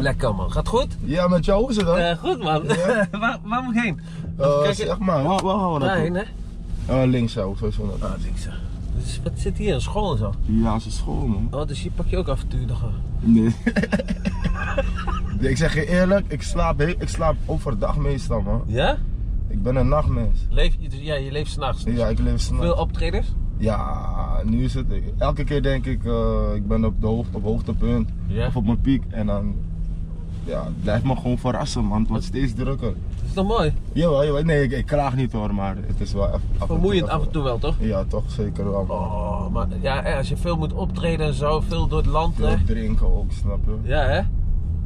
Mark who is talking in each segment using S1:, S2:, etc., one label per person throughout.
S1: Lekker man, gaat goed?
S2: Ja, met jou hoe is het dan?
S1: Eh, goed man.
S2: Ja.
S1: waar, waar moet ik heen?
S2: Eh,
S1: kijk,
S2: zeg maar, waar, waar houden we dat?
S1: Daarheen hè?
S2: op? Eh, links zou ik sowieso naar.
S1: Ah, links. hè. Dus wat zit hier? Een school en zo?
S2: Ja, ze school man.
S1: Oh, dus hier pak je ook af en toe nog eh? een...
S2: Nee. Nee, ik zeg je eerlijk, ik slaap, he- ik slaap overdag meestal man.
S1: Ja?
S2: Ik ben een nachtmens.
S1: Leef, je- dus ja, je leeft s'nachts.
S2: Ja, ik leef snel.
S1: Veel optredens?
S2: Ja, nu is het. Elke keer denk ik, eh, ik ben op, de hoog, op hoogtepunt
S1: Ja.
S2: of op mijn piek. En dan ja, het blijft me gewoon verrassen, man. Het wordt steeds drukker.
S1: Dat is toch mooi?
S2: Jawel, jawel. Nee, ik, ik kraag niet hoor, maar het is wel af, af en toe
S1: Vermoeiend
S2: even-
S1: af en toe wel, toch?
S2: Ja, toch zeker wel. man.
S1: Oh, maar ja, hè, als je veel moet optreden en zo, veel door het land, hè?
S2: Veel drinken ook, snap je?
S1: Ja, hè?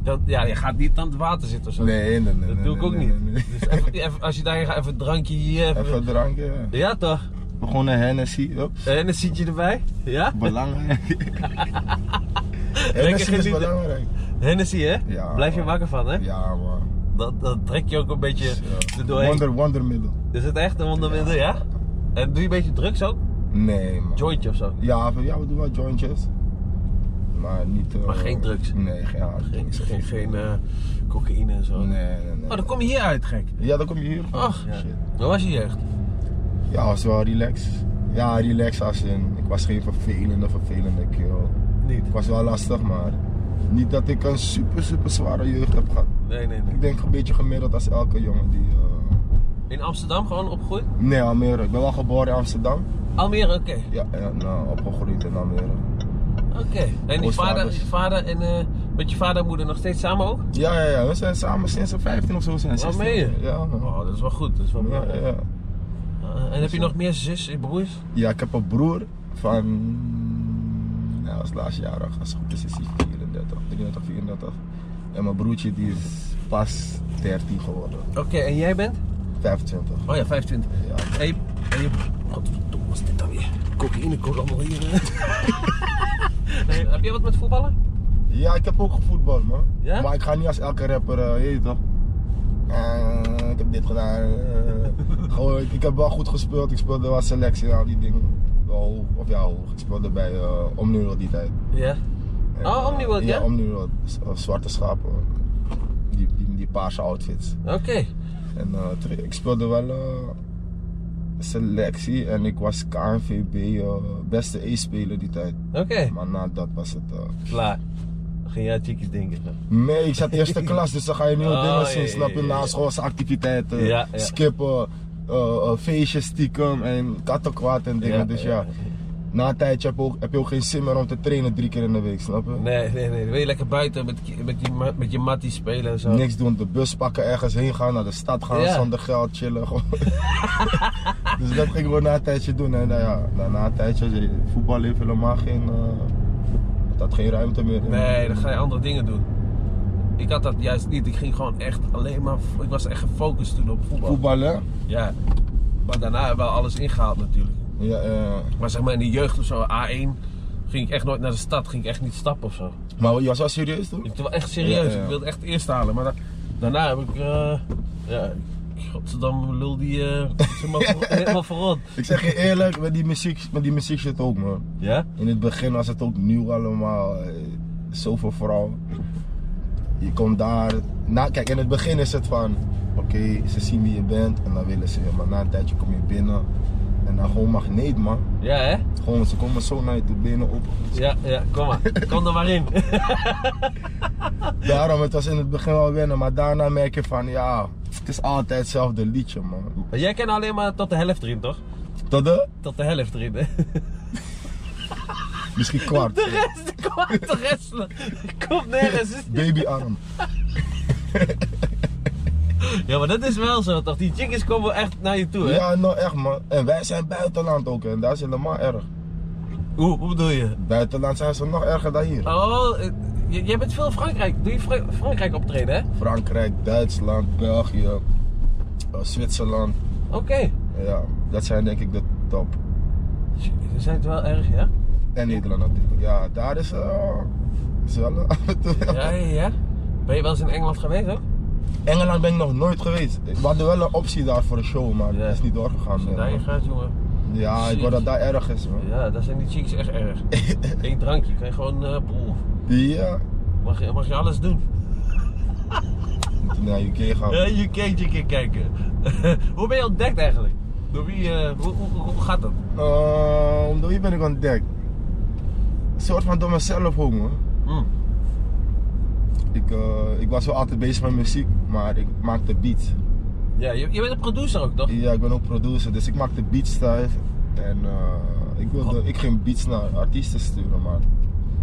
S1: Dan, ja, je gaat niet aan het water zitten of zo.
S2: Nee, nee, nee.
S1: Dat
S2: nee,
S1: doe ik
S2: nee,
S1: ook
S2: nee,
S1: niet.
S2: nee, nee.
S1: Dus even, even- als je daarheen gaat, even een drankje hier. Even...
S2: Even dranken, ja.
S1: Ja, toch?
S2: Gewoon een Hennessy, up.
S1: En dan zit je erbij. Ja?
S2: Belangrijk. Hennessy is
S1: genieten.
S2: belangrijk.
S1: Hennessy, hè?
S2: Ja,
S1: Blijf je
S2: man.
S1: wakker van, hè?
S2: Ja, man.
S1: Dat, dat trek je ook een beetje
S2: Ja.
S1: erdoorheen.
S2: Wonder, wondermiddel.
S1: Is het echt een wondermiddel, ja. En doe je een beetje drugs ook?
S2: Nee, man.
S1: Jointje of zo?
S2: Ja, we- ja, we doen wel jointjes. Maar niet... eh,
S1: Maar geen drugs?
S2: Nee, geen harde
S1: Geen,
S2: drugs.
S1: geen, geen eh, cocaïne en zo.
S2: Nee, nee, nee.
S1: Oh, dan kom je hier uit, gek.
S2: Ja, dan kom je hier.
S1: Ach,
S2: ja. shit.
S1: Hoe Oh, was je jeugd?
S2: Ja, was wel relax. Ja, relax als in... Ik was geen vervelende, vervelende kerel.
S1: Niet.
S2: Ik was wel lastig, maar... Niet dat ik een super, super zware jeugd heb gehad.
S1: Nee, nee, nee.
S2: Ik denk een beetje gemiddeld als elke jongen die... eh,
S1: In Amsterdam gewoon opgegroeid?
S2: Nee, Almere. Ik ben wel geboren in Amsterdam.
S1: Almere, oké.
S2: Ja, ja nou, opgegroeid in Almere.
S1: Oké. En je vader,
S2: Grootvaders.
S1: je vader en eh, met je vader en moeder nog steeds samen ook?
S2: Ja, ja, ja. We zijn samen sinds de 15 of zo. Zijn
S1: Wat
S2: 16.
S1: meen je?
S2: Ja, man.
S1: Oh, dat is wel goed. Dat is wel
S2: Ja,
S1: belangrijk.
S2: ja, ja.
S1: Ah, en heb je nog meer zus en broers?
S2: Ja, ik heb een broer van. Hij was laatst jarig, als het goed Dus is, is hij 34, 33, 34. En mijn broertje die is pas 13 geworden,
S1: Oké, en jij bent?
S2: 25.
S1: Oh ja, 25.
S2: Ja.
S1: En je... En je Godverdomme, wat is dit dan weer? Cocaïne komt allemaal hier. hè? nee, heb jij wat met voetballen?
S2: ja, ik heb ook gevoetbald, man.
S1: Ja?
S2: Maar ik ga niet als elke rapper, eh, je weet toch? Eh, ik heb dit gedaan. eh. gewoon, ik, ik heb wel goed gespeeld, ik speelde wel selectie en al die dingen. Wel hoog, of ja, hoog. Ik speelde bij eh Omniworld die tijd.
S1: Ja.
S2: En,
S1: Oh,
S2: eh,
S1: Omniworld, ja?
S2: Ja, Omniworld. Z- eh, Zwarte schapen. Die, die, die paarse outfits.
S1: Oké.
S2: En eh, toen- ik speelde wel eh, selectie en ik was KNVB eh, beste E-speler die tijd.
S1: Oké.
S2: Maar na dat was het. eh,
S1: Klaar. Dan ging jij chickies denken.
S2: Nee, ik zat eerste klas, dus dan ga je nieuwe
S1: Oh,
S2: dingen
S1: ja,
S2: zien. Snap
S1: ja, ja,
S2: je?
S1: ja.
S2: Na schoolse activiteiten,
S1: Ja, ja.
S2: skippen, eh eh, feestjes stiekem en kattenkwaad en dingen.
S1: Ja,
S2: dus
S1: ja,
S2: ja,
S1: ja.
S2: na een tijdje heb je, ook, heb je ook geen zin meer om te trainen drie keer in de week, snap je?
S1: Nee, nee, nee. Dan wil je lekker buiten met, ki- met, die, ma- met je matties spelen en zo.
S2: Niks doen, de bus pakken, ergens heen gaan, naar de stad gaan,
S1: Ja.
S2: zonder geld, chillen. gewoon. dus dat ging ik gewoon na een tijdje doen. En nou ja, na, na een tijdje, voetbal heeft helemaal geen, eh, het had geen ruimte meer. in.
S1: Nee, dan ga je andere dingen doen. Ik had dat juist niet. Ik ging gewoon echt alleen maar. Ik was echt gefocust toen op voetbal.
S2: Voetballen?
S1: Ja. Maar daarna hebben we alles ingehaald natuurlijk.
S2: Ja, eh,
S1: Maar zeg maar in de jeugd of zo, A1, ging ik echt nooit naar de stad. Ging ik echt niet stappen of zo.
S2: maar je was wel serieus toen?
S1: Ik was wel echt serieus.
S2: Ja, ja.
S1: Ik wilde echt eerst halen. Maar da- daarna heb ik. eh ja, Rotterdam lul die eh, helemaal, ver- helemaal verrot.
S2: Ik zeg je eerlijk, met die muziek, met die muziek zit ook man.
S1: Ja?
S2: In het begin was het ook nieuw allemaal, eh, zoveel vrouwen. Je komt daar, nou kijk in het begin is het van, oké ze zien wie je bent en dan willen ze je. Maar na een tijdje kom je binnen en dan gewoon magneet man.
S1: Ja, hè?
S2: Gewoon, ze komen zo naar je toe, benen op.
S1: Ja, ja, kom maar. Kom er maar in.
S2: Daarom, het was in het begin wel wennen, maar daarna merk je van, ja, het is altijd hetzelfde liedje man.
S1: Maar jij kan alleen maar tot de helft erin, toch?
S2: Tot de,
S1: Tot de helft erin, hè?
S2: misschien kwart.
S1: De rest, kom uit de rest. Komt nergens.
S2: Babyarm.
S1: Ja, maar dat is wel zo, toch? Die chickies komen echt naar je toe, hè?
S2: Ja, nou echt man. En wij zijn buitenland ook hè, en dat is helemaal erg.
S1: Hoe, hoe bedoel je?
S2: Buitenland zijn ze nog erger dan hier.
S1: Oh, eh, j- jij bent veel Frankrijk. Doe je Fra- Frankrijk optreden, hè?
S2: Frankrijk, Duitsland, België, eh, Zwitserland.
S1: Oké.
S2: Ja, dat zijn denk ik de top.
S1: Ze zijn het wel erg, ja?
S2: En Nederland natuurlijk. Ja, daar is, eh, is wel eh, af en toe.
S1: Ja, ja, ja. Ben je wel eens in Engeland geweest, ook?
S2: Engeland ben ik nog nooit geweest. We hadden wel een optie daar voor een show, maar
S1: Ja.
S2: dat is niet doorgegaan.
S1: Als je
S2: meer,
S1: daarheen
S2: man.
S1: gaat, jongen.
S2: Ja, ik hoor dat daar erg is man.
S1: Ja, daar zijn die chicks echt erg. Eén drankje, kan je gewoon... eh, poeh.
S2: Ja,
S1: mag, je, mag je alles doen.
S2: Moet je naar UK gaan.
S1: Eh, UK een keer kijken. hoe ben je ontdekt eigenlijk? Door wie, eh, hoe, hoe, hoe gaat dat?
S2: Ehm, door wie ben ik ontdekt? Een soort van door mezelf ook, man.
S1: Hmm.
S2: Ik, eh, ik was wel altijd bezig met muziek, maar ik maakte beats.
S1: Ja, je, je bent een producer ook, toch?
S2: Ja, ik ben ook producer, dus ik maakte beats thuis. En eh, ik, wilde, ik ging beats naar artiesten sturen, maar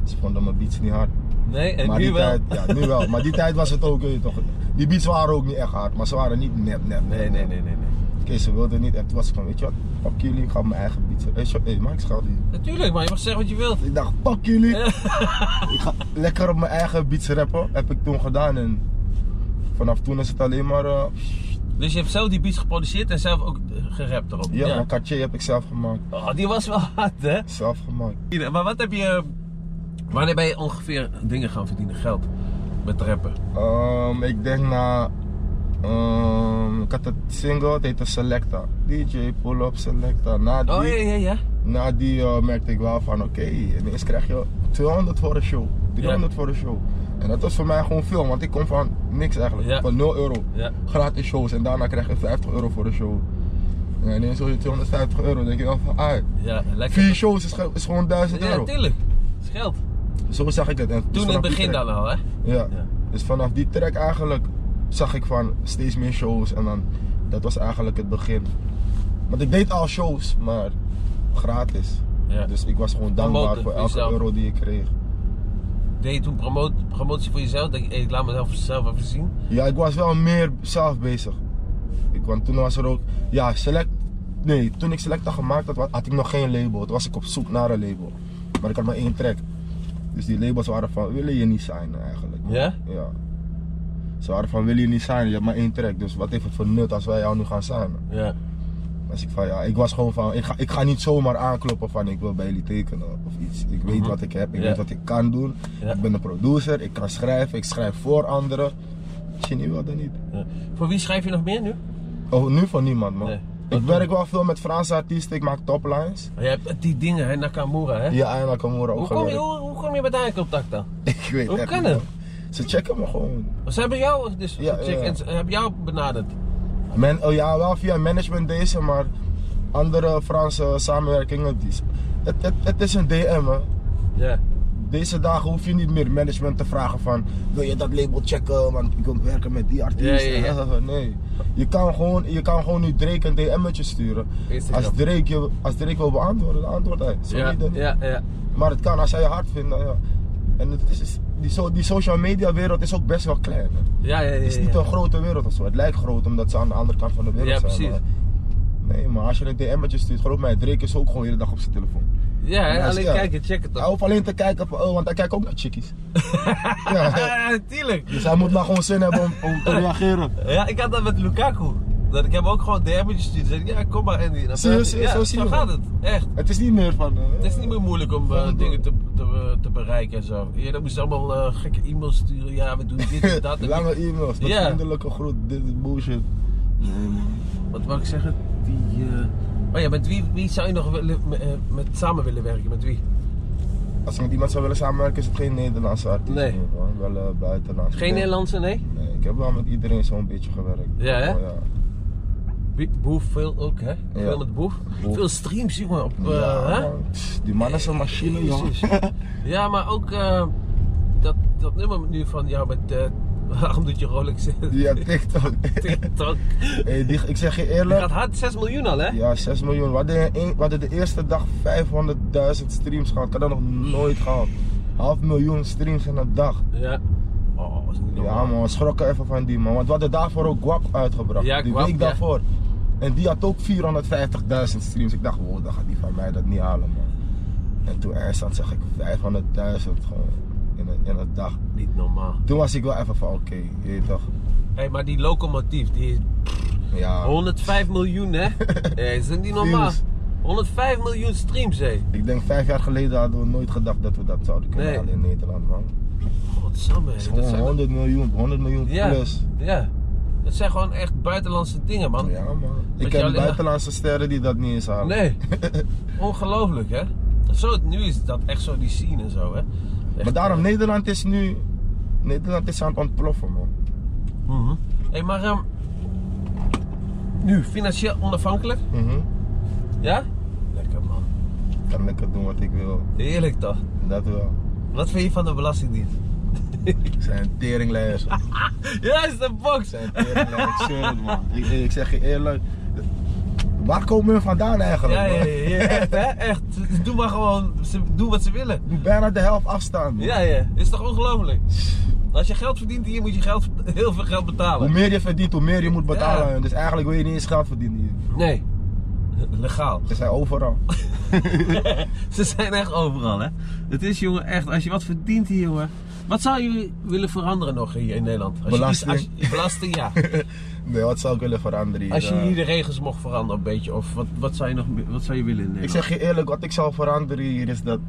S2: ze vonden mijn beats niet hard.
S1: Nee, en
S2: maar
S1: nu
S2: die
S1: wel.
S2: Tijd, ja, nu wel. Maar die tijd was het ook, weet je toch. Die beats waren ook niet echt hard, maar ze waren niet nep, nep.
S1: Nee,
S2: nep,
S1: nee,
S2: nep.
S1: nee, nee, nee.
S2: Oké, ze wilden niet. En toen was ik van, weet je wat, pak jullie, ik ga mijn eigen beats. Hé, hey, hey, Mike Schouder.
S1: Natuurlijk, maar je mag zeggen wat je wilt.
S2: Ik dacht, pak jullie. ik ga lekker op mijn eigen beats rappen. Heb ik toen gedaan en vanaf toen is het alleen maar... eh,
S1: Dus je hebt zelf die beats geproduceerd en zelf ook eh, gerapt erop.
S2: ja, mijn katje heb ik zelf gemaakt.
S1: Oh, die was wel hard, hè?
S2: Zelf gemaakt.
S1: Hier, Maar wat heb je. Wanneer ben je ongeveer dingen gaan verdienen, geld? Met rappen.
S2: Ehm, ik denk na... ehm, ik had een single, het heette Selecta. DJ, pull-up, Selecta. Na die,
S1: Oh ja, ja, ja.
S2: na die eh, merkte ik wel van, oké, ineens krijg je 200 voor een show. 300 voor een show. En dat was voor mij gewoon veel, want ik kom van niks eigenlijk.
S1: Ja.
S2: Van 0 euro.
S1: Ja.
S2: gratis shows en daarna krijg je 50 euro voor de show. En ineens hoor je 250 euro, dan denk je wel van, ah,
S1: Ja, lekker.
S2: vier shows is, ge- is gewoon 1000
S1: Ja,
S2: euro.
S1: natuurlijk. Dat is geld.
S2: Zo zag ik het. En dus
S1: Toen in het
S2: vanaf die
S1: begin
S2: track-
S1: dan al, hè?
S2: Ja.
S1: Ja.
S2: dus vanaf die track eigenlijk zag ik van steeds meer shows en dan, dat was eigenlijk het begin. Want ik deed al shows, maar gratis.
S1: Ja.
S2: Dus ik was gewoon
S1: Promoten
S2: dankbaar voor
S1: voor
S2: elke
S1: jezelf.
S2: euro die ik kreeg.
S1: Deed je toen promo- promotie voor jezelf? Denk je, hey, ik laat mezelf zelf even zien.
S2: Ja, ik was wel meer zelf bezig. Ik, want toen was er ook. Ja, Select. Nee, toen ik Selecta gemaakt had, had ik nog geen label. Toen was ik op zoek naar een label. Maar ik had maar één track. Dus die labels waren van: willen je niet zijn eigenlijk?
S1: Ja?
S2: Ja. Ze waren van: wil je niet zijn? Je hebt maar één track. Dus wat heeft het voor nut als wij jou nu gaan zijn?
S1: Ja.
S2: Als ik van ja, ik was gewoon van: ik ga, ik ga niet zomaar aankloppen van: ik wil bij jullie tekenen of iets. Ik weet
S1: Mhm.
S2: wat ik heb, ik
S1: Ja.
S2: weet wat ik kan doen.
S1: Ja.
S2: Ik ben een producer, ik kan schrijven, ik schrijf voor anderen. Als je niet wil, dan niet.
S1: Ja. Voor wie schrijf je nog meer nu?
S2: Oh, nu van niemand, man.
S1: Nee. Wat
S2: Ik
S1: doe
S2: werk wel veel met Franse artiesten, ik maak toplines.
S1: Oh, Je hebt die dingen, hè? Nakamura, hè?
S2: Ja, en Nakamura ook
S1: Hoe kom, je,
S2: gewerkt.
S1: hoe, hoe kom je met haar in contact dan?
S2: Ik weet
S1: Hoe
S2: echt
S1: kan
S2: niet,
S1: het?
S2: man. Ze checken me gewoon.
S1: Ze hebben jou dus
S2: Ja,
S1: gecheckt
S2: ja.
S1: en ze hebben jou benaderd.
S2: Men, oh ja, wel via management deze, maar andere Franse samenwerkingen. Die, het, het, het is een DM, hè.
S1: Ja.
S2: Deze dagen hoef je niet meer management te vragen van... Wil je dat label checken, want ik wil werken met die artiest.
S1: Ja, ja, ja.
S2: Nee. Je kan, gewoon, je kan gewoon nu Drake een DM'tje sturen. Als
S1: Instagram.
S2: Drake, je, als Drake wil beantwoorden, dan antwoordt hij. Zo
S1: Ja,
S2: niet, dan-
S1: ja, ja.
S2: Maar het kan als jij je hard vindt. dan ja. En het is- is, die, so- die social media wereld is ook best wel klein. hè.
S1: Ja, ja, ja.
S2: Het is niet
S1: ja.
S2: een grote wereld of zo. Het lijkt groot omdat ze aan de andere kant van de wereld
S1: Ja,
S2: zijn.
S1: precies.
S2: Maar, nee, maar als je een DM'tje stuurt, geloof mij, Drake is ook gewoon de hele dag op zijn telefoon.
S1: Ja, hè,
S2: Ja,
S1: alleen
S2: ja.
S1: kijken, check het
S2: Hij
S1: toch.
S2: hoeft alleen te kijken, van, oh, want hij kijkt ook naar chickies. ja,
S1: Ja, natuurlijk.
S2: dus hij moet maar gewoon zin hebben om, om te reageren.
S1: Ja, ik had dat met Lukaku. Dat ik hem ook gewoon DM'tjes stuurde. Zei ik, ja, kom maar Andy. Dan
S2: Zie je,
S1: praat-
S2: zie je,
S1: ja,
S2: zo zie je wel.
S1: gaat het, echt.
S2: Het is niet meer van. eh,
S1: Het is niet meer moeilijk om eh,
S2: Van-
S1: dingen te, te, eh, te bereiken en zo. Eerder moest je allemaal eh, gekke e-mails sturen. Ja, we doen dit en dat. En
S2: Lange e-mails, dat
S1: Ja.
S2: vriendelijke groet, dit is bullshit.
S1: Wat wou ik zeggen? Die, eh, Oh ja, met wie, wie zou je nog willen, me- eh, met, samen willen werken? Met wie?
S2: Als ik met iemand zou willen samenwerken, is het geen Nederlandse artiest.
S1: Nee.
S2: meer, man. Wel eh, buitenlandse.
S1: Geen
S2: Nee.
S1: Nederlandse, nee?
S2: Nee, ik heb wel met iedereen zo'n beetje gewerkt.
S1: Ja, hè?
S2: Oh, ja.
S1: Wie- Boef veel ook, hè? Veel met Boef.
S2: Boef.
S1: Veel streams, jongen. Op, eh,
S2: Ja,
S1: hè?
S2: man. Pff, Die man is een machine, joh.
S1: Jezus. Ja, maar ook eh, dat, dat nummer nu van jou met... eh, waarom doet je Rolex in?
S2: Ja, TikTok.
S1: TikTok?
S2: hey, die, ik zeg je
S1: Die
S2: eerlijk.
S1: gaat hard 6 miljoen al, hè?
S2: Ja, 6 miljoen. We hadden, één- we hadden de eerste dag 500.000 streams gehad. Ik had dat nog nooit gehad. Half miljoen streams in een dag.
S1: Ja. Oh, is niet
S2: Ja
S1: normaal.
S2: man, we schrokken even van die man. Want we hadden daarvoor ook Guap uitgebracht.
S1: Ja,
S2: die
S1: Guap,
S2: week
S1: ja.
S2: daarvoor. En die had ook 450.000 streams. Ik dacht, wow, dan gaat die van mij dat niet halen man. En toen eindstand zag ik 500.000 gewoon in een, in een dag.
S1: Niet normaal.
S2: Toen was ik wel even van, oké, je weet toch.
S1: Hé, hey, maar die locomotief, die is
S2: Ja,
S1: 105 miljoen, hè? hey, is dat niet normaal?
S2: Views.
S1: 105 miljoen streams, hé.
S2: ik denk vijf jaar geleden hadden we nooit gedacht dat we dat zouden kunnen
S1: Nee.
S2: halen in Nederland man.
S1: Godsamme, hé.
S2: Het is
S1: Dat
S2: gewoon
S1: zijn
S2: 100 miljoen, 100 miljoen
S1: Ja.
S2: plus.
S1: Ja. Dat zijn gewoon echt buitenlandse dingen, man.
S2: Ja man.
S1: je
S2: Ik ken
S1: alleen-
S2: buitenlandse sterren die dat niet eens halen.
S1: Nee. Ongelooflijk, hè? Zo, nu is dat echt zo die scene en zo, hè? Echt,
S2: Maar daarom,
S1: eh,
S2: Nederland is nu. Nederland is aan het ontploffen, man.
S1: Mhm. Hey, maar ehm, nu, financieel onafhankelijk,
S2: Mhm.
S1: ja? Lekker man.
S2: Kan lekker doen wat ik wil.
S1: Heerlijk toch?
S2: Dat wel.
S1: Wat vind je van de Belastingdienst?
S2: Ik zijn teringlijers.
S1: Juist, de box!
S2: zijn teringlijers. Ik zweer het, man. Ik, ik zeg je eerlijk. Waar komen we vandaan eigenlijk?
S1: Ja, ja,
S2: man?
S1: ja, ja, echt hè, echt. Ze- Doe maar gewoon, ze doen wat ze willen.
S2: Ik moet bijna de helft afstaan. man.
S1: Ja, ja, is toch ongelooflijk? Als je geld verdient hier, moet je geld, heel veel geld
S2: Hoe
S1: betalen.
S2: meer je verdient, hoe meer je moet betalen.
S1: Ja.
S2: Dus eigenlijk wil je niet eens geld verdienen. hier.
S1: Nee, legaal.
S2: Ze zijn overal.
S1: Ze zijn echt overal, hè? Het is, jongen, echt, als je wat verdient hier, jongen. Wat zou je willen veranderen nog hier in Nederland? Als
S2: Belasting.
S1: Je, iets- als je- belasting, ja.
S2: Nee, wat zou ik willen veranderen? hier?
S1: Als je
S2: Eh,
S1: hier de regels mocht veranderen, een beetje. Of wat, wat, zou, je nog, wat zou je willen in
S2: Ik
S1: Nederland?
S2: zeg je eerlijk, wat ik zou veranderen hier is dat.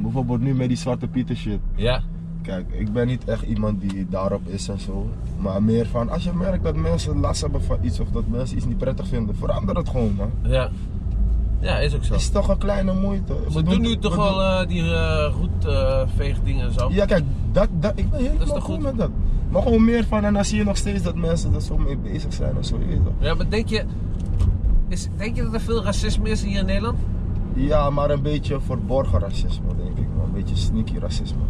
S2: Bijvoorbeeld nu met die Zwarte Pieter shit.
S1: Ja,
S2: Kijk, ik ben niet echt iemand die daarop is en zo. Maar meer van, als je merkt dat mensen last hebben van iets of dat mensen iets niet prettig vinden, verander het gewoon, man.
S1: ja. Ja, is ook zo.
S2: Het is toch een kleine moeite. We
S1: Ze doen nu toch
S2: we
S1: wel
S2: doen-
S1: eh, die eh roetveegdingen en zo.
S2: Ja, kijk, dat, dat, ik ben
S1: is
S2: helemaal
S1: toch
S2: goed
S1: goed?
S2: met dat. Maar gewoon meer van, en dan zie je nog steeds dat mensen er zo mee bezig zijn en zo. je weet toch.
S1: Ja, maar denk je, is, denk je dat er veel racisme is hier in Nederland?
S2: Ja, maar een beetje verborgen racisme, denk ik. man. Een beetje sneaky racisme.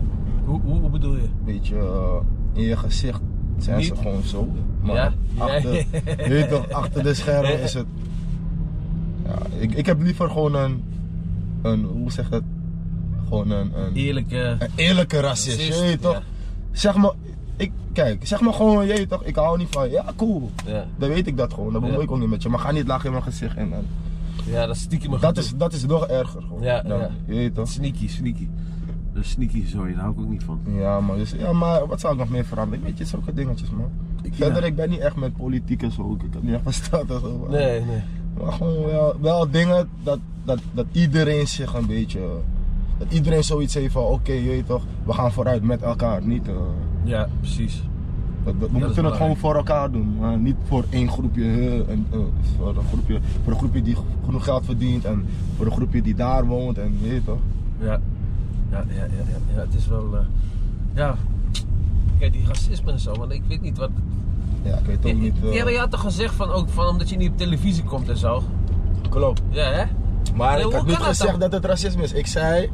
S1: Hoe, hoe, hoe bedoel je?
S2: Een beetje eh, in je gezicht zijn ze
S1: Niet-
S2: gewoon zo. Maar
S1: Ja?
S2: Achter,
S1: Ja.
S2: je weet toch, achter de schermen is het. Ja, ik, ik heb liever gewoon een. een hoe zeg dat? Gewoon een. een,
S1: Eerlijke.
S2: een eerlijke racist.
S1: Racist,
S2: je weet toch?
S1: ja.
S2: Zeg maar. Ik, kijk, zeg maar gewoon, je weet toch, ik hou niet van. Ja, cool.
S1: Ja,
S2: Dan weet ik dat gewoon. Dan
S1: Ja.
S2: bemoei ik ook niet met je. Maar ga niet laag in mijn gezicht. En, en,
S1: ja dat is stiekem een
S2: dat, is, dat is nog erger gewoon.
S1: Ja,
S2: dan,
S1: ja.
S2: Je weet toch?
S1: Sneaky, sneaky. Dat is sneaky, sorry, daar hou ik ook niet van.
S2: Ja, maar, dus, ja, maar wat zou ik nog meer veranderen? Weet je, zulke dingetjes, man. Verder, ik ben niet echt met politiek en zo. Ik ik heb niet echt verstand en zo. maar-
S1: Nee, nee.
S2: Maar gewoon wel, wel dingen dat, dat, dat iedereen zich een beetje... Dat iedereen zoiets heeft van, oké, je weet toch, we gaan vooruit met elkaar. Niet, eh,
S1: Ja, precies.
S2: dat- we moeten het
S1: belangrijk.
S2: gewoon voor elkaar doen. maar niet voor één groepje, eh, en, eh, voor, een groepje voor een groepje die genoeg geld verdient. En voor een groepje die daar woont. En je weet toch.
S1: Ja. Ja, ja, ja, ja, ja, het is wel. eh, ja. Kijk, die racisme en zo, want ik weet niet wat.
S2: Ja, ik weet ook niet... eh,
S1: Ja, maar je had toch gezegd van ook van omdat je niet op televisie komt en zo.
S2: Klopt.
S1: Ja, hè?
S2: Maar
S1: Nee,
S2: ik
S1: hoe
S2: heb niet
S1: kan dat
S2: gezegd dat het racisme is. Ik zei,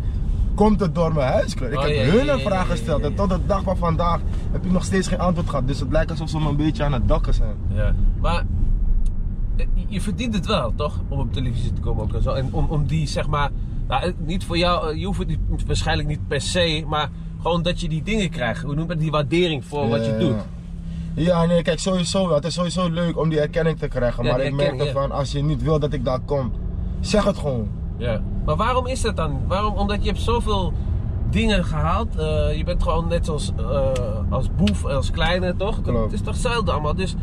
S2: komt het door mijn huiskleur? Ik
S1: Oh,
S2: heb
S1: ja, ja,
S2: hun
S1: ja,
S2: een
S1: ja,
S2: vraag
S1: ja,
S2: gesteld.
S1: ja, ja.
S2: En tot de dag van vandaag heb ik nog steeds geen antwoord gehad. Dus het lijkt alsof ze me een beetje aan het dakken zijn.
S1: Ja. Maar eh, je- je verdient het wel, toch? Om op televisie te komen ook en zo. En om, om die, zeg maar. Nou, eh, niet voor jou, eh, je hoeft het niet- waarschijnlijk niet per se, maar gewoon dat je die dingen krijgt. Hoe noem je dat? Die waardering voor Oh, wat je
S2: Ja.
S1: doet.
S2: Ja, nee, kijk, sowieso wel. Het is sowieso leuk om die erkenning te krijgen.
S1: Ja,
S2: maar
S1: die
S2: ik merk
S1: erkenning, ja.
S2: ervan, als je niet wil dat ik daar kom, zeg het gewoon.
S1: Ja. Maar waarom is dat dan? Waarom? Omdat je hebt zoveel dingen gehaald. Eh, je bent gewoon net als, eh, als boef, als kleine, toch?
S2: Klopt.
S1: Het is toch zelden allemaal. Dus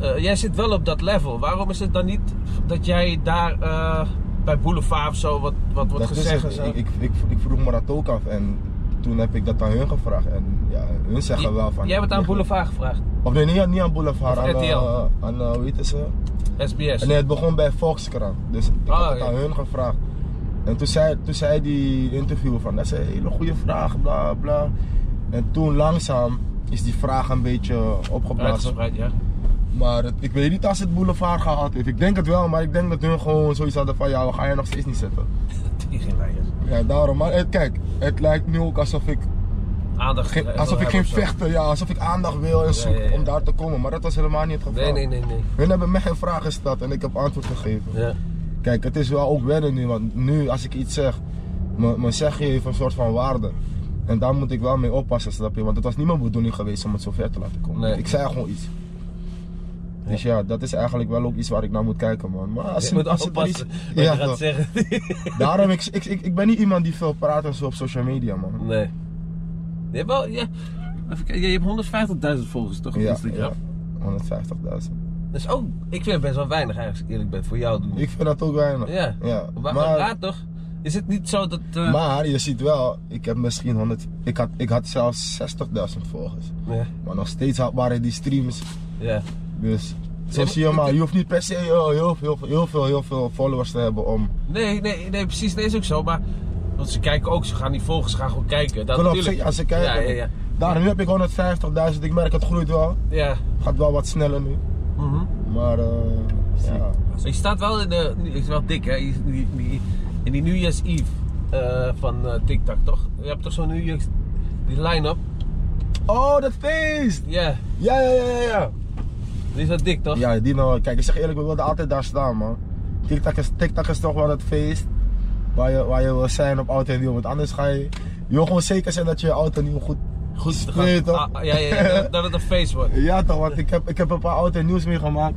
S1: eh, jij zit wel op dat level. Waarom is het dan niet dat jij daar eh, bij Boulevard of zo wat, wat wordt
S2: dat is
S1: gezegd? en
S2: het.
S1: zo?
S2: Ik, ik, ik, ik vroeg me dat ook af. En toen heb ik dat aan hun gevraagd. En ja, hun zeggen
S1: J-
S2: wel van...
S1: Jij bent aan Boulevard gevraagd.
S2: Of nee, niet, niet aan Boulevard.
S1: Of
S2: Aan,
S1: RTL.
S2: eh, aan eh, hoe heet ze?
S1: SBS.
S2: En nee, het begon bij Volkskrant. Dus ik
S1: Ah,
S2: had het
S1: ja.
S2: aan hun gevraagd. En toen zei, toen zei die interviewer van, dat is een hele goede vraag, bla bla. En toen langzaam is die vraag een beetje opgeblazen.
S1: Uitgespreid, ja.
S2: Maar het- ik weet niet als het boulevard gehad heeft. Ik denk het wel, maar ik denk dat hun gewoon zoiets hadden van, ja, we gaan je nog steeds niet zetten.
S1: Teringleiers.
S2: Ja, daarom. Maar eh, kijk, het lijkt nu ook alsof ik,
S1: Aandacht.
S2: geen-
S1: eh,
S2: alsof
S1: wil
S2: ik geen
S1: hebben of zo.
S2: vechter, ja, alsof ik aandacht wil en zoek
S1: ja, ja.
S2: om daar te komen. Maar dat was helemaal niet het geval.
S1: Nee, nee, nee, nee.
S2: Hun hebben mij een vraag gesteld en ik heb antwoord gegeven.
S1: Ja.
S2: Kijk, het is wel ook wennen nu, want nu als ik iets zeg, me- mijn zegje heeft een soort van waarde. En daar moet ik wel mee oppassen, snap je? Want het was niet mijn bedoeling geweest om het zo ver te laten komen.
S1: Nee.
S2: Ik zei gewoon iets. Dus ja, dat is eigenlijk wel ook iets waar ik naar moet kijken, man. Maar als
S1: Je moet
S2: als er
S1: oppassen
S2: iets-
S1: wat
S2: ja,
S1: je gaat zeggen.
S2: daarom, ik, ik, ik, ik ben niet iemand die veel praat en zo op social media, man.
S1: Nee. Je hebt wel, ja. Even kijken, je hebt 150.000 volgers toch op
S2: Ja,
S1: Instagram?
S2: ja. 150.000.
S1: Dat is ook, ik vind het best wel weinig eigenlijk, als ik eerlijk ben, voor jou doen.
S2: Ik vind dat ook weinig.
S1: Ja.
S2: ja.
S1: Maar,
S2: Maar,
S1: raad toch? Is het niet zo dat... eh,
S2: maar je ziet wel, ik heb misschien 100, ik had, ik had zelfs 60.000 volgers.
S1: Ja,
S2: Maar nog steeds had- waren die streams.
S1: ja.
S2: Dus zo
S1: maar-
S2: zie je maar, je hoeft niet per se heel, heel, heel, heel veel, heel veel followers te hebben om.
S1: Nee, nee, nee, precies, nee, is ook zo, maar... Want ze kijken ook, ze gaan die volgers gaan gewoon kijken. Dat
S2: Klopt,
S1: natuurlijk.
S2: zeker, als ze kijken.
S1: Ja, ja, ja.
S2: Daar nu heb ik 150.000, ik merk het groeit wel.
S1: Ja.
S2: Gaat wel wat sneller nu.
S1: Mhm.
S2: Maar eh, ja.
S1: Je staat wel in de. nu- Het is wel dik, hè? Die, die, die- in die New Year's Eve eh, van eh TikTok, toch? Je hebt toch zo'n New Year's. die line-up?
S2: Oh, dat feest!
S1: Ja,
S2: Ja, ja, ja, ja, ja.
S1: die is wel dik, toch?
S2: Ja, die nou, kijk, ik zeg eerlijk, we wilden altijd daar staan, man. TikTok is, TikTok is toch wel het feest waar je, waar je wil zijn op oud en nieuw. Want anders ga je, je wil gewoon zeker zijn dat je oud en nieuw goed, goed speelt, toch?
S1: Ah, ah, ja, ja, ja, dat, dat het een feest wordt.
S2: Ja toch, want ik heb, ik heb een paar oud en nieuws meegemaakt.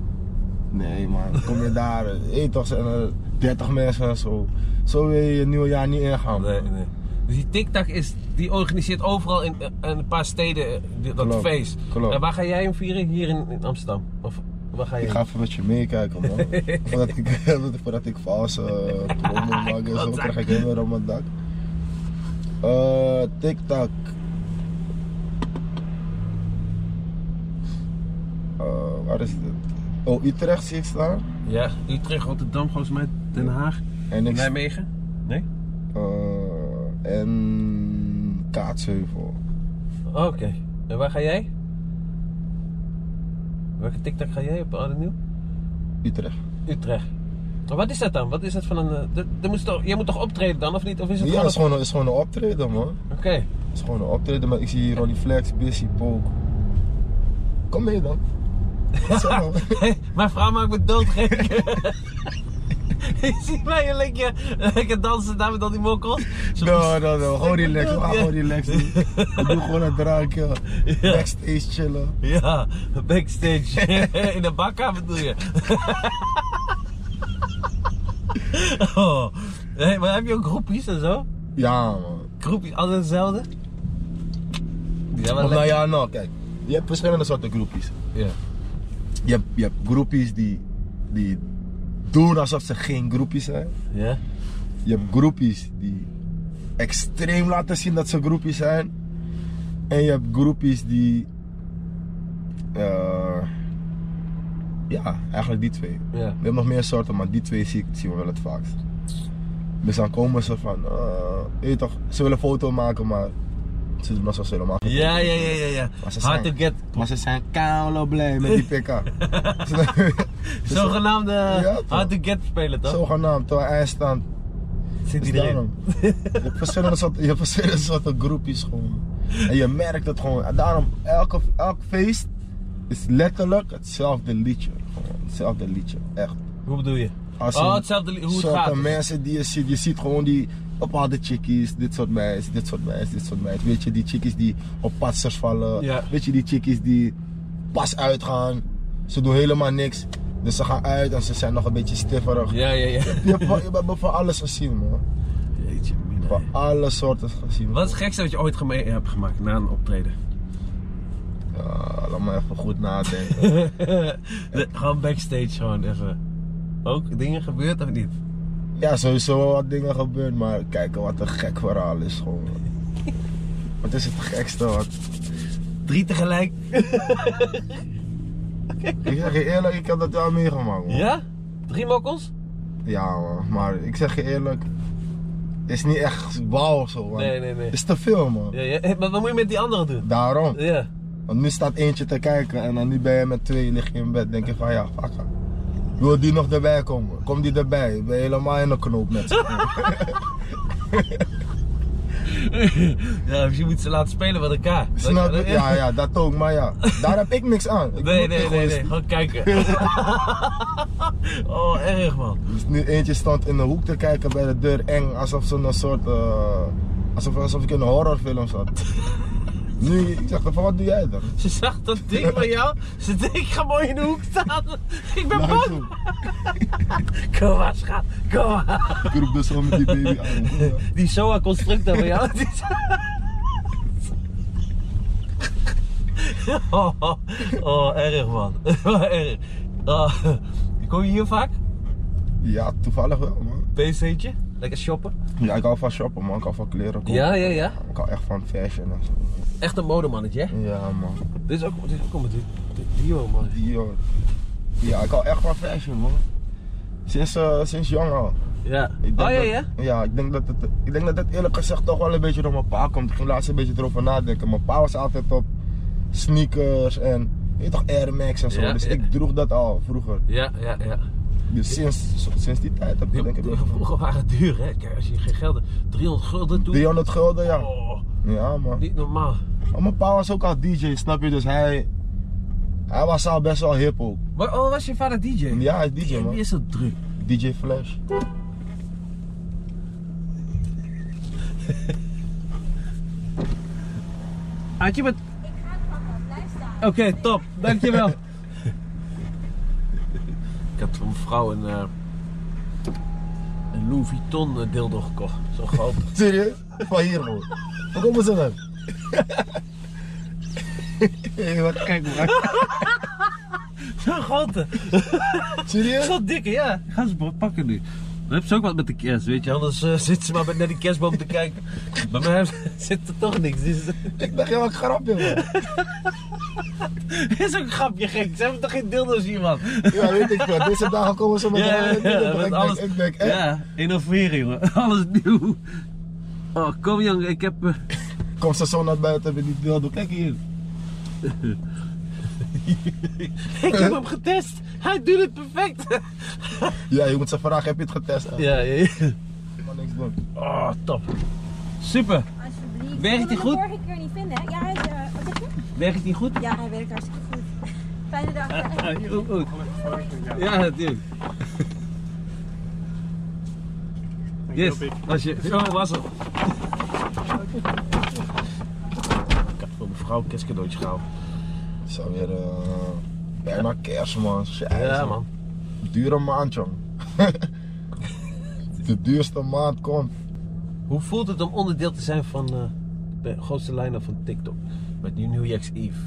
S2: Nee man, kom je daar, eh, toch zijn er 30 mensen en zo. Zo wil je je nieuwjaar niet ingaan.
S1: Nee, nee. Dus die TikTok is, die organiseert overal in, eh, in een paar steden eh, die- dat
S2: Klopt,
S1: feest.
S2: klopt.
S1: En waar ga jij hem vieren? Hier in, in Amsterdam? Of waar ga je
S2: Ik ga even met je meekijken man. voordat, ik, voordat ik valse eh, promo maak en zo, krijg ik helemaal op mijn dak. Eh TikTok. Eh, waar is dit? Oh, Utrecht zie ik staan.
S1: Ja, Utrecht, Rotterdam, volgens mij, Den Haag,
S2: En ik...
S1: Nijmegen. Nee?
S2: eh, en Kaatsheuvel.
S1: Oh, Oké. En waar ga jij? Welke TikTok ga jij op Oude Nieuw?
S2: Utrecht.
S1: Utrecht. Maar wat is dat dan? Wat is dat van een... eh, dat- dat moest toch, jij moet toch optreden dan, of niet? Of is het
S2: Ja, het is
S1: gewoon...
S2: gewoon, is gewoon een optreden, man.
S1: Oké.
S2: Het is gewoon een optreden, maar ik zie hier Ronnie Flex, Busy, Poke. Kom mee dan. Wat zeg nou?
S1: Mijn vrouw maakt me doodgek. je ziet mij een lekker, lekker dansen daar met al die mokkels. Ze
S2: No,
S1: moest-
S2: no, no. Nou, Gewoon relax. We gaan
S1: Ja.
S2: gewoon relax doen. We doen gewoon een drankje. Backstage chillen.
S1: Ja, backstage. In de bakka bedoel je. oh. Hey, maar heb je ook groepjes en zo?
S2: Ja, man.
S1: Groepjes, altijd hetzelfde? Ja, wel
S2: Of nou
S1: lekker.
S2: ja, nou, kijk. Je hebt verschillende soorten groepjes.
S1: Ja.
S2: Je hebt, je hebt groepjes die, die doen alsof ze geen groepjes zijn.
S1: Ja?
S2: Je hebt groepjes die extreem laten zien dat ze groepjes zijn. En je hebt groepjes die. eh, ja, eigenlijk die twee.
S1: Ja.
S2: We hebben nog meer soorten, maar die twee zie ik, zien we wel het vaakst. Dus dan komen ze van. eh, weet je toch, ze willen foto maken, maar ze doen alsof ze helemaal geen
S1: Ja,
S2: foto
S1: ja,
S2: willen.
S1: ja, ja, ja.
S2: Maar ze
S1: Hard to
S2: zijn-
S1: get.
S2: Maar ze zijn koude blij met die pk.
S1: Zogenaamde
S2: Dus Ja, toch.
S1: hard to get spelen toch?
S2: Zogenaamd, terwijl eindstand
S1: Zit
S2: Dus
S1: iedereen.
S2: daarom. je hebt verschillende soorten, je hebt verschillende soorten groepjes gewoon. En je merkt het gewoon. En daarom, elke, elk feest is letterlijk hetzelfde liedje. Gewoon, hetzelfde liedje, echt.
S1: Hoe bedoel je?
S2: Als
S1: Oh,
S2: in
S1: hetzelfde li- hoe het
S2: soorten
S1: gaat.
S2: mensen die je ziet. Je ziet gewoon die bepaalde chickies, dit soort meisjes, dit soort meisjes, dit soort meisjes. Weet je, die chickies die op patsers vallen.
S1: Ja.
S2: Weet je, die chickies die pas uitgaan. Ze doen helemaal niks. Dus ze gaan uit en ze zijn nog een beetje stifferig.
S1: Ja, ja, ja.
S2: Je hebt van- je hebt van alles gezien, man.
S1: Jeetje, mina.
S2: Van alle soorten gezien.
S1: Wat is het gekste wat je ooit geme- eh, hebt gemaakt na een optreden?
S2: Ja, Ah, laat me even goed nadenken.
S1: De- gewoon backstage gewoon even. Ook dingen gebeurd of niet?
S2: ja, sowieso wel wat dingen gebeurd, maar kijken wat een gek verhaal is gewoon. Wat is het gekste wat?
S1: Drie tegelijk?
S2: Ik zeg je eerlijk, ik heb dat wel meegemaakt man.
S1: Ja? Drie mokkels?
S2: Ja man, maar ik zeg je eerlijk, het is niet echt wauw of zo man.
S1: Nee, nee, nee.
S2: Het is te veel man.
S1: Ja, ja. Hey, Maar wat moet je met die andere doen?
S2: Daarom.
S1: Ja.
S2: Want nu staat eentje te kijken en dan nu ben je met twee, lig je in bed, denk je van ja, fuck. it. Wil die nog erbij komen? Kom die erbij? Ik ben helemaal in de knoop met ze.
S1: ja, misschien moet ze laten spelen met elkaar.
S2: Snap je? Ja, ja, dat ook, maar ja. Daar heb ik niks aan. Ik
S1: Nee,
S2: moet
S1: nee,
S2: gewoon
S1: nee, nee. Gewoon kijken. oh, erg man.
S2: Dus nu eentje stond in de hoek te kijken bij de deur, eng, alsof ze een soort. eh, alsof, alsof ik in een horrorfilm zat. nu, ik zeg, van wat doe jij dan?
S1: Ze zag dat ding van jou. Ze denkt, ik ga mooi in de hoek staan. Ik ben
S2: Naar
S1: bang.
S2: hem toe.
S1: Kom maar, schat. Kom maar.
S2: Ik roep dus zo met die baby aan.
S1: Die SOA constructor van jou. die is- oh, oh, oh, erg man. Oh, erg. Oh, kom je hier vaak?
S2: Ja, toevallig wel, man.
S1: PC'tje? Lekker shoppen?
S2: Ja, ik hou van shoppen, man. Ik hou van kleren. kopen.
S1: Ja, ja, ja.
S2: Ik hou echt van fashion en zo.
S1: Echt een modemannetje, hè?
S2: Ja, man.
S1: Dit is ook, dit is ook een duo, man.
S2: Die, joh. Ja, ik hou echt van fashion, man. Sinds, eh, sinds jong al.
S1: Ja.
S2: Ik denk
S1: Oh ja,
S2: dat-
S1: ja?
S2: Ja, ik denk dat, het, ik denk dat het eerlijk gezegd toch wel een beetje door mijn pa komt. Ik ging laatst een beetje erover nadenken. Mijn pa was altijd op sneakers en je weet toch Air Max en zo.
S1: Ja,
S2: dus
S1: ja.
S2: ik droeg dat al vroeger.
S1: Ja, ja, ja.
S2: Dus sinds, sinds die tijd heb ik denk ik
S1: Die- Vroeger waren het duur, hè? Kijk, als je geen geld had. 300 gulden toen.
S2: 300 gulden, ja.
S1: Oh,
S2: Ja, man.
S1: niet normaal.
S2: Maar mijn pa was ook al DJ, snap je? Dus hij, hij was al best wel hip ook.
S1: Maar, oh, was je vader DJ?
S2: Ja, hij is DJ,
S1: Wie
S2: man.
S1: is dat druk?
S2: DJ Flash.
S1: Had je wat...
S3: Blijf staan.
S1: Oké, top. Dankjewel. ik had voor mijn vrouw een, eh, een Louis Vuitton eh, dildo gekocht. Zo groot.
S2: Serieus? Van hier gewoon. Waar komen ze dan? Hé, wat kijk man.
S1: Zo'n grote.
S2: Serieus?
S1: Zo'n dikke, ja. Ga ze pakken nu. Dan heb ze ook wat met de kerst, weet je. Anders eh, zit ze maar met- naar die kerstboom te kijken. Bij mij heeft- zit er toch niks. Dus,
S2: Ik dacht, ja, wat grapje man.
S1: is ook een grapje gek. Ze hebben toch geen dildo's hier, man?
S2: Ja, weet ik veel. Deze dagen komen ze met
S1: Ja, ja,
S2: een-
S1: ja,
S2: ik,
S1: met
S2: denk,
S1: alles.
S2: ik denk, eh,
S1: Ja, innoveren, jongen. Alles nieuw. Oh, kom jong, ik heb... eh,
S2: kom ze zo naar buiten met die dildo. Kijk hier.
S1: ik heb hem getest. Hij doet het perfect.
S2: Ja, je moet ze vragen, heb je het getest? Ja.
S1: ja, ja.
S2: Maar niks doen.
S1: Oh, top. Super.
S3: Alsjeblieft.
S1: Werkt die
S3: Ik kon hem
S1: goed?
S3: de vorige keer niet vinden. hè? Ja, hij, is, eh, wat zeg je?
S1: Werkt die goed?
S3: ja, hij werkt hartstikke goed. Fijne dag.
S1: Ja, heel goed. Ja, natuurlijk. Yes, als je... Zo was het. Ik heb voor mijn vrouw een kerstcadeautje gehaald.
S2: Het is alweer eh, bijna kerst man. Shit,
S1: Ja, man.
S2: Dure maand jong. De duurste maand komt.
S1: Hoe voelt het om onderdeel te zijn van eh, de grootste line-up van TikTok? Met die New Year's Eve.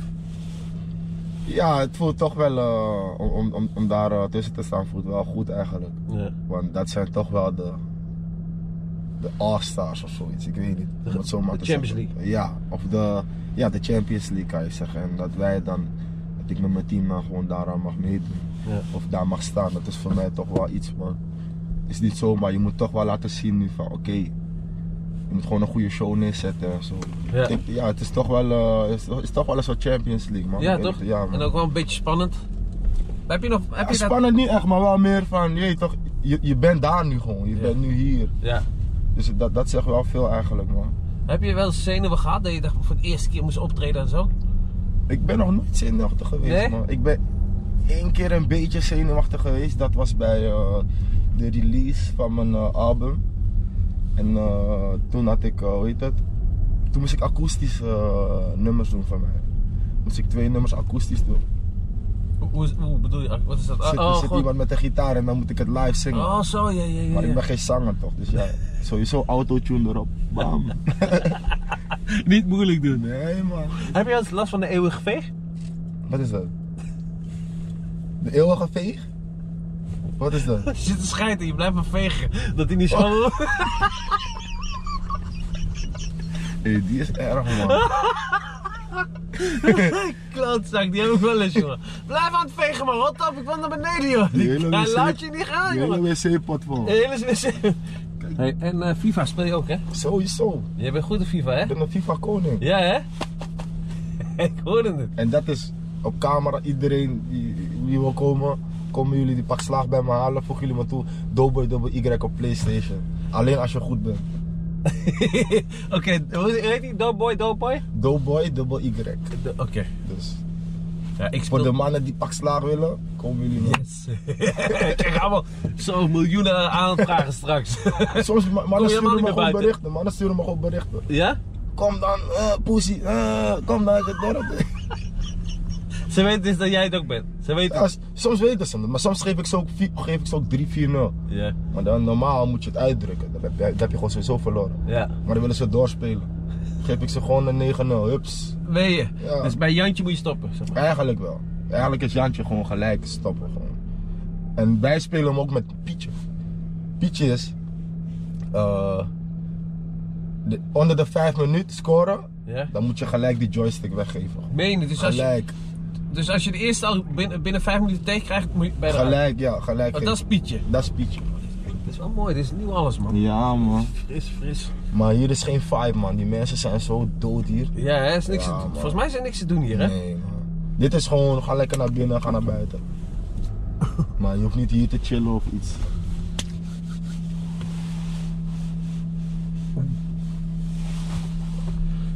S2: Ja, het voelt toch wel, eh, om- om, om, om daar eh, tussen te staan, voelt wel goed eigenlijk.
S1: Ja.
S2: Want dat zijn toch wel de, de All-Stars of zoiets, ik weet niet.
S1: De-
S2: om het zo maar
S1: de
S2: te
S1: Champions
S2: zeggen. Ja, of de, ja, de Champions League kan je zeggen. En dat wij dan, dat ik met mijn team dan gewoon daaraan mag meedoen.
S1: Ja.
S2: Of daar mag staan, dat is voor mij toch wel iets man. Het is niet zomaar, je moet toch wel laten zien nu van oké. je moet gewoon een goede show neerzetten en zo.
S1: Ja.
S2: Ik- ja het is toch wel, eh, het is, het is toch wel een soort Champions League man.
S1: Ja,
S2: Ik-
S1: toch?
S2: Ja, man.
S1: en ook wel een beetje spannend. Heb je nog... Heb
S2: Ja,
S1: je dat...
S2: spannend niet echt, maar wel meer van, je, weet toch, je, je bent daar nu gewoon, je
S1: Ja.
S2: bent nu hier.
S1: Ja.
S2: Dus dat, dat zegt wel veel eigenlijk, man.
S1: Heb je wel eens zenuwen gehad dat je dacht voor de eerste keer moest optreden en zo?
S2: Ik ben nog nooit zenuwachtig geweest,
S1: Nee?
S2: man. Ik ben één keer een beetje zenuwachtig geweest. Dat was bij eh, de release van mijn eh, album. En eh, toen had ik, eh, hoe heet het? Toen moest ik akoestische eh, nummers doen van mij. Moest ik twee nummers akoestisch doen.
S1: Hoe, hoe, hoe bedoel je? Wat is dat?
S2: Zit,
S1: oh,
S2: zit
S1: gewoon-
S2: iemand met een gitaar en dan moet ik het live zingen.
S1: oh, zo, ja, ja, ja.
S2: Maar ik
S1: ja.
S2: ben geen zanger toch, dus ja, sowieso autotune erop. Bam.
S1: Niet moeilijk doen.
S2: Nee man.
S1: Heb je wel eens last van de eeuwige veeg?
S2: Wat is dat? De eeuwige veeg? Wat is dat?
S1: Je zit te schijten, je blijft maar vegen. Oh. Dat hij niet schoon wordt.
S2: Hey, die is erg man.
S1: Ah, Klootzak, die heb ik wel eens, jongen. Blijf aan het vegen, man. Rot op, ik wil naar beneden, joh.
S2: Die hele
S1: Hij
S2: wc
S1: laat je niet gaan,
S2: Die
S1: jongen. Eh.
S2: hele wc-pot vol.
S1: De hele wc. Hey, en eh, FIFA speel je ook, hè?
S2: Sowieso.
S1: Jij bent goed in FIFA, hè?
S2: Ik ben een FIFA koning.
S1: Ja, hè? ik hoorde het.
S2: En dat is op camera iedereen die, die wil komen. Komen jullie die pak slaag bij me halen, voeg jullie me toe. Double double Y op Playstation. Alleen als je goed bent.
S1: Oké, hoe heet die? Doughboy, Doughboy?
S2: Doughboy double Y.
S1: De- Oké.
S2: Dus
S1: Ja, ik
S2: voor de
S1: speel...
S2: mannen die pak slaag willen, komen jullie me.
S1: Yes. Kijk, allemaal zo miljoenen aanvragen straks.
S2: Soms ma-
S1: helemaal
S2: mannen sturen
S1: niet
S2: me
S1: meer
S2: gewoon
S1: buiten.
S2: berichten. Mannen sturen me gewoon berichten.
S1: ja?
S2: Kom dan, eh, poesie, eh, kom dan uit het dorp.
S1: Ze weten dus dat jij het ook bent. Ze weten...
S2: Ja, s- soms weten ze het, maar soms geef ik ze ook, vi- geef ik ze ook 3-4-0.
S1: Ja.
S2: Maar dan normaal moet je het uitdrukken. Dan heb je, dan heb je gewoon sowieso verloren.
S1: Ja.
S2: Maar dan willen ze doorspelen. Geef ik ze gewoon een 9-0, hups.
S1: Weet je?
S2: Ja.
S1: Dus bij Jantje moet je stoppen, zeg maar.
S2: Eigenlijk wel. Eigenlijk is Jantje gewoon gelijk stoppen. Gewoon. En wij spelen hem ook met Pietje. Pietje is eh, de- onder de 5 minuten scoren,
S1: Ja?
S2: dan moet je gelijk die joystick weggeven. gewoon.
S1: Meen je? Dus als je...
S2: Gelijk.
S1: Dus als je de eerste al binnen, binnen vijf minuten tegenkrijgt, moet je bij de Oh,
S2: Gelijk, ja, gelijk.
S1: dat is Pietje.
S2: Dat is Pietje.
S1: Dat is wel mooi, dit is nieuw alles, man.
S2: Ja, man.
S1: Fris, fris.
S2: Maar hier is geen vibe, man. Die mensen zijn zo dood hier.
S1: Ja, hè, is niks
S2: Ja,
S1: te doen.
S2: man.
S1: Volgens mij is er niks te doen hier, hè?
S2: Nee, man. Dit is gewoon, ga lekker naar binnen, ga naar buiten. Maar je hoeft niet hier te chillen of iets.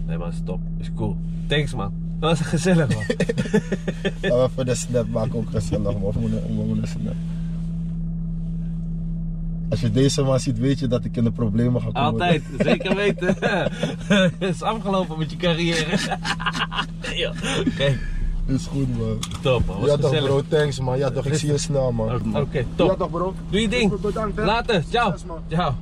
S1: Nee, man, is top. Is cool. Thanks, man. Dat was gezellig, man.
S2: Laten we even de snap maken, ook gezellig, man. We moeten- we moeten een snap. Als je deze maar ziet, weet je dat ik in de problemen ga komen.
S1: Altijd, zeker weten. is afgelopen met je carrière. ja. Kijk,
S2: Is goed, man.
S1: top, man. Was
S2: Ja toch,
S1: gezellig.
S2: bro. Thanks, man. Ja toch, ik zie je snel, man.
S1: Oké,
S2: Ja
S1: top.
S2: toch, bro.
S1: Doe je ding.
S2: Bedankt, hè.
S1: Later, ciao.
S2: Succes, man.
S1: Ciao.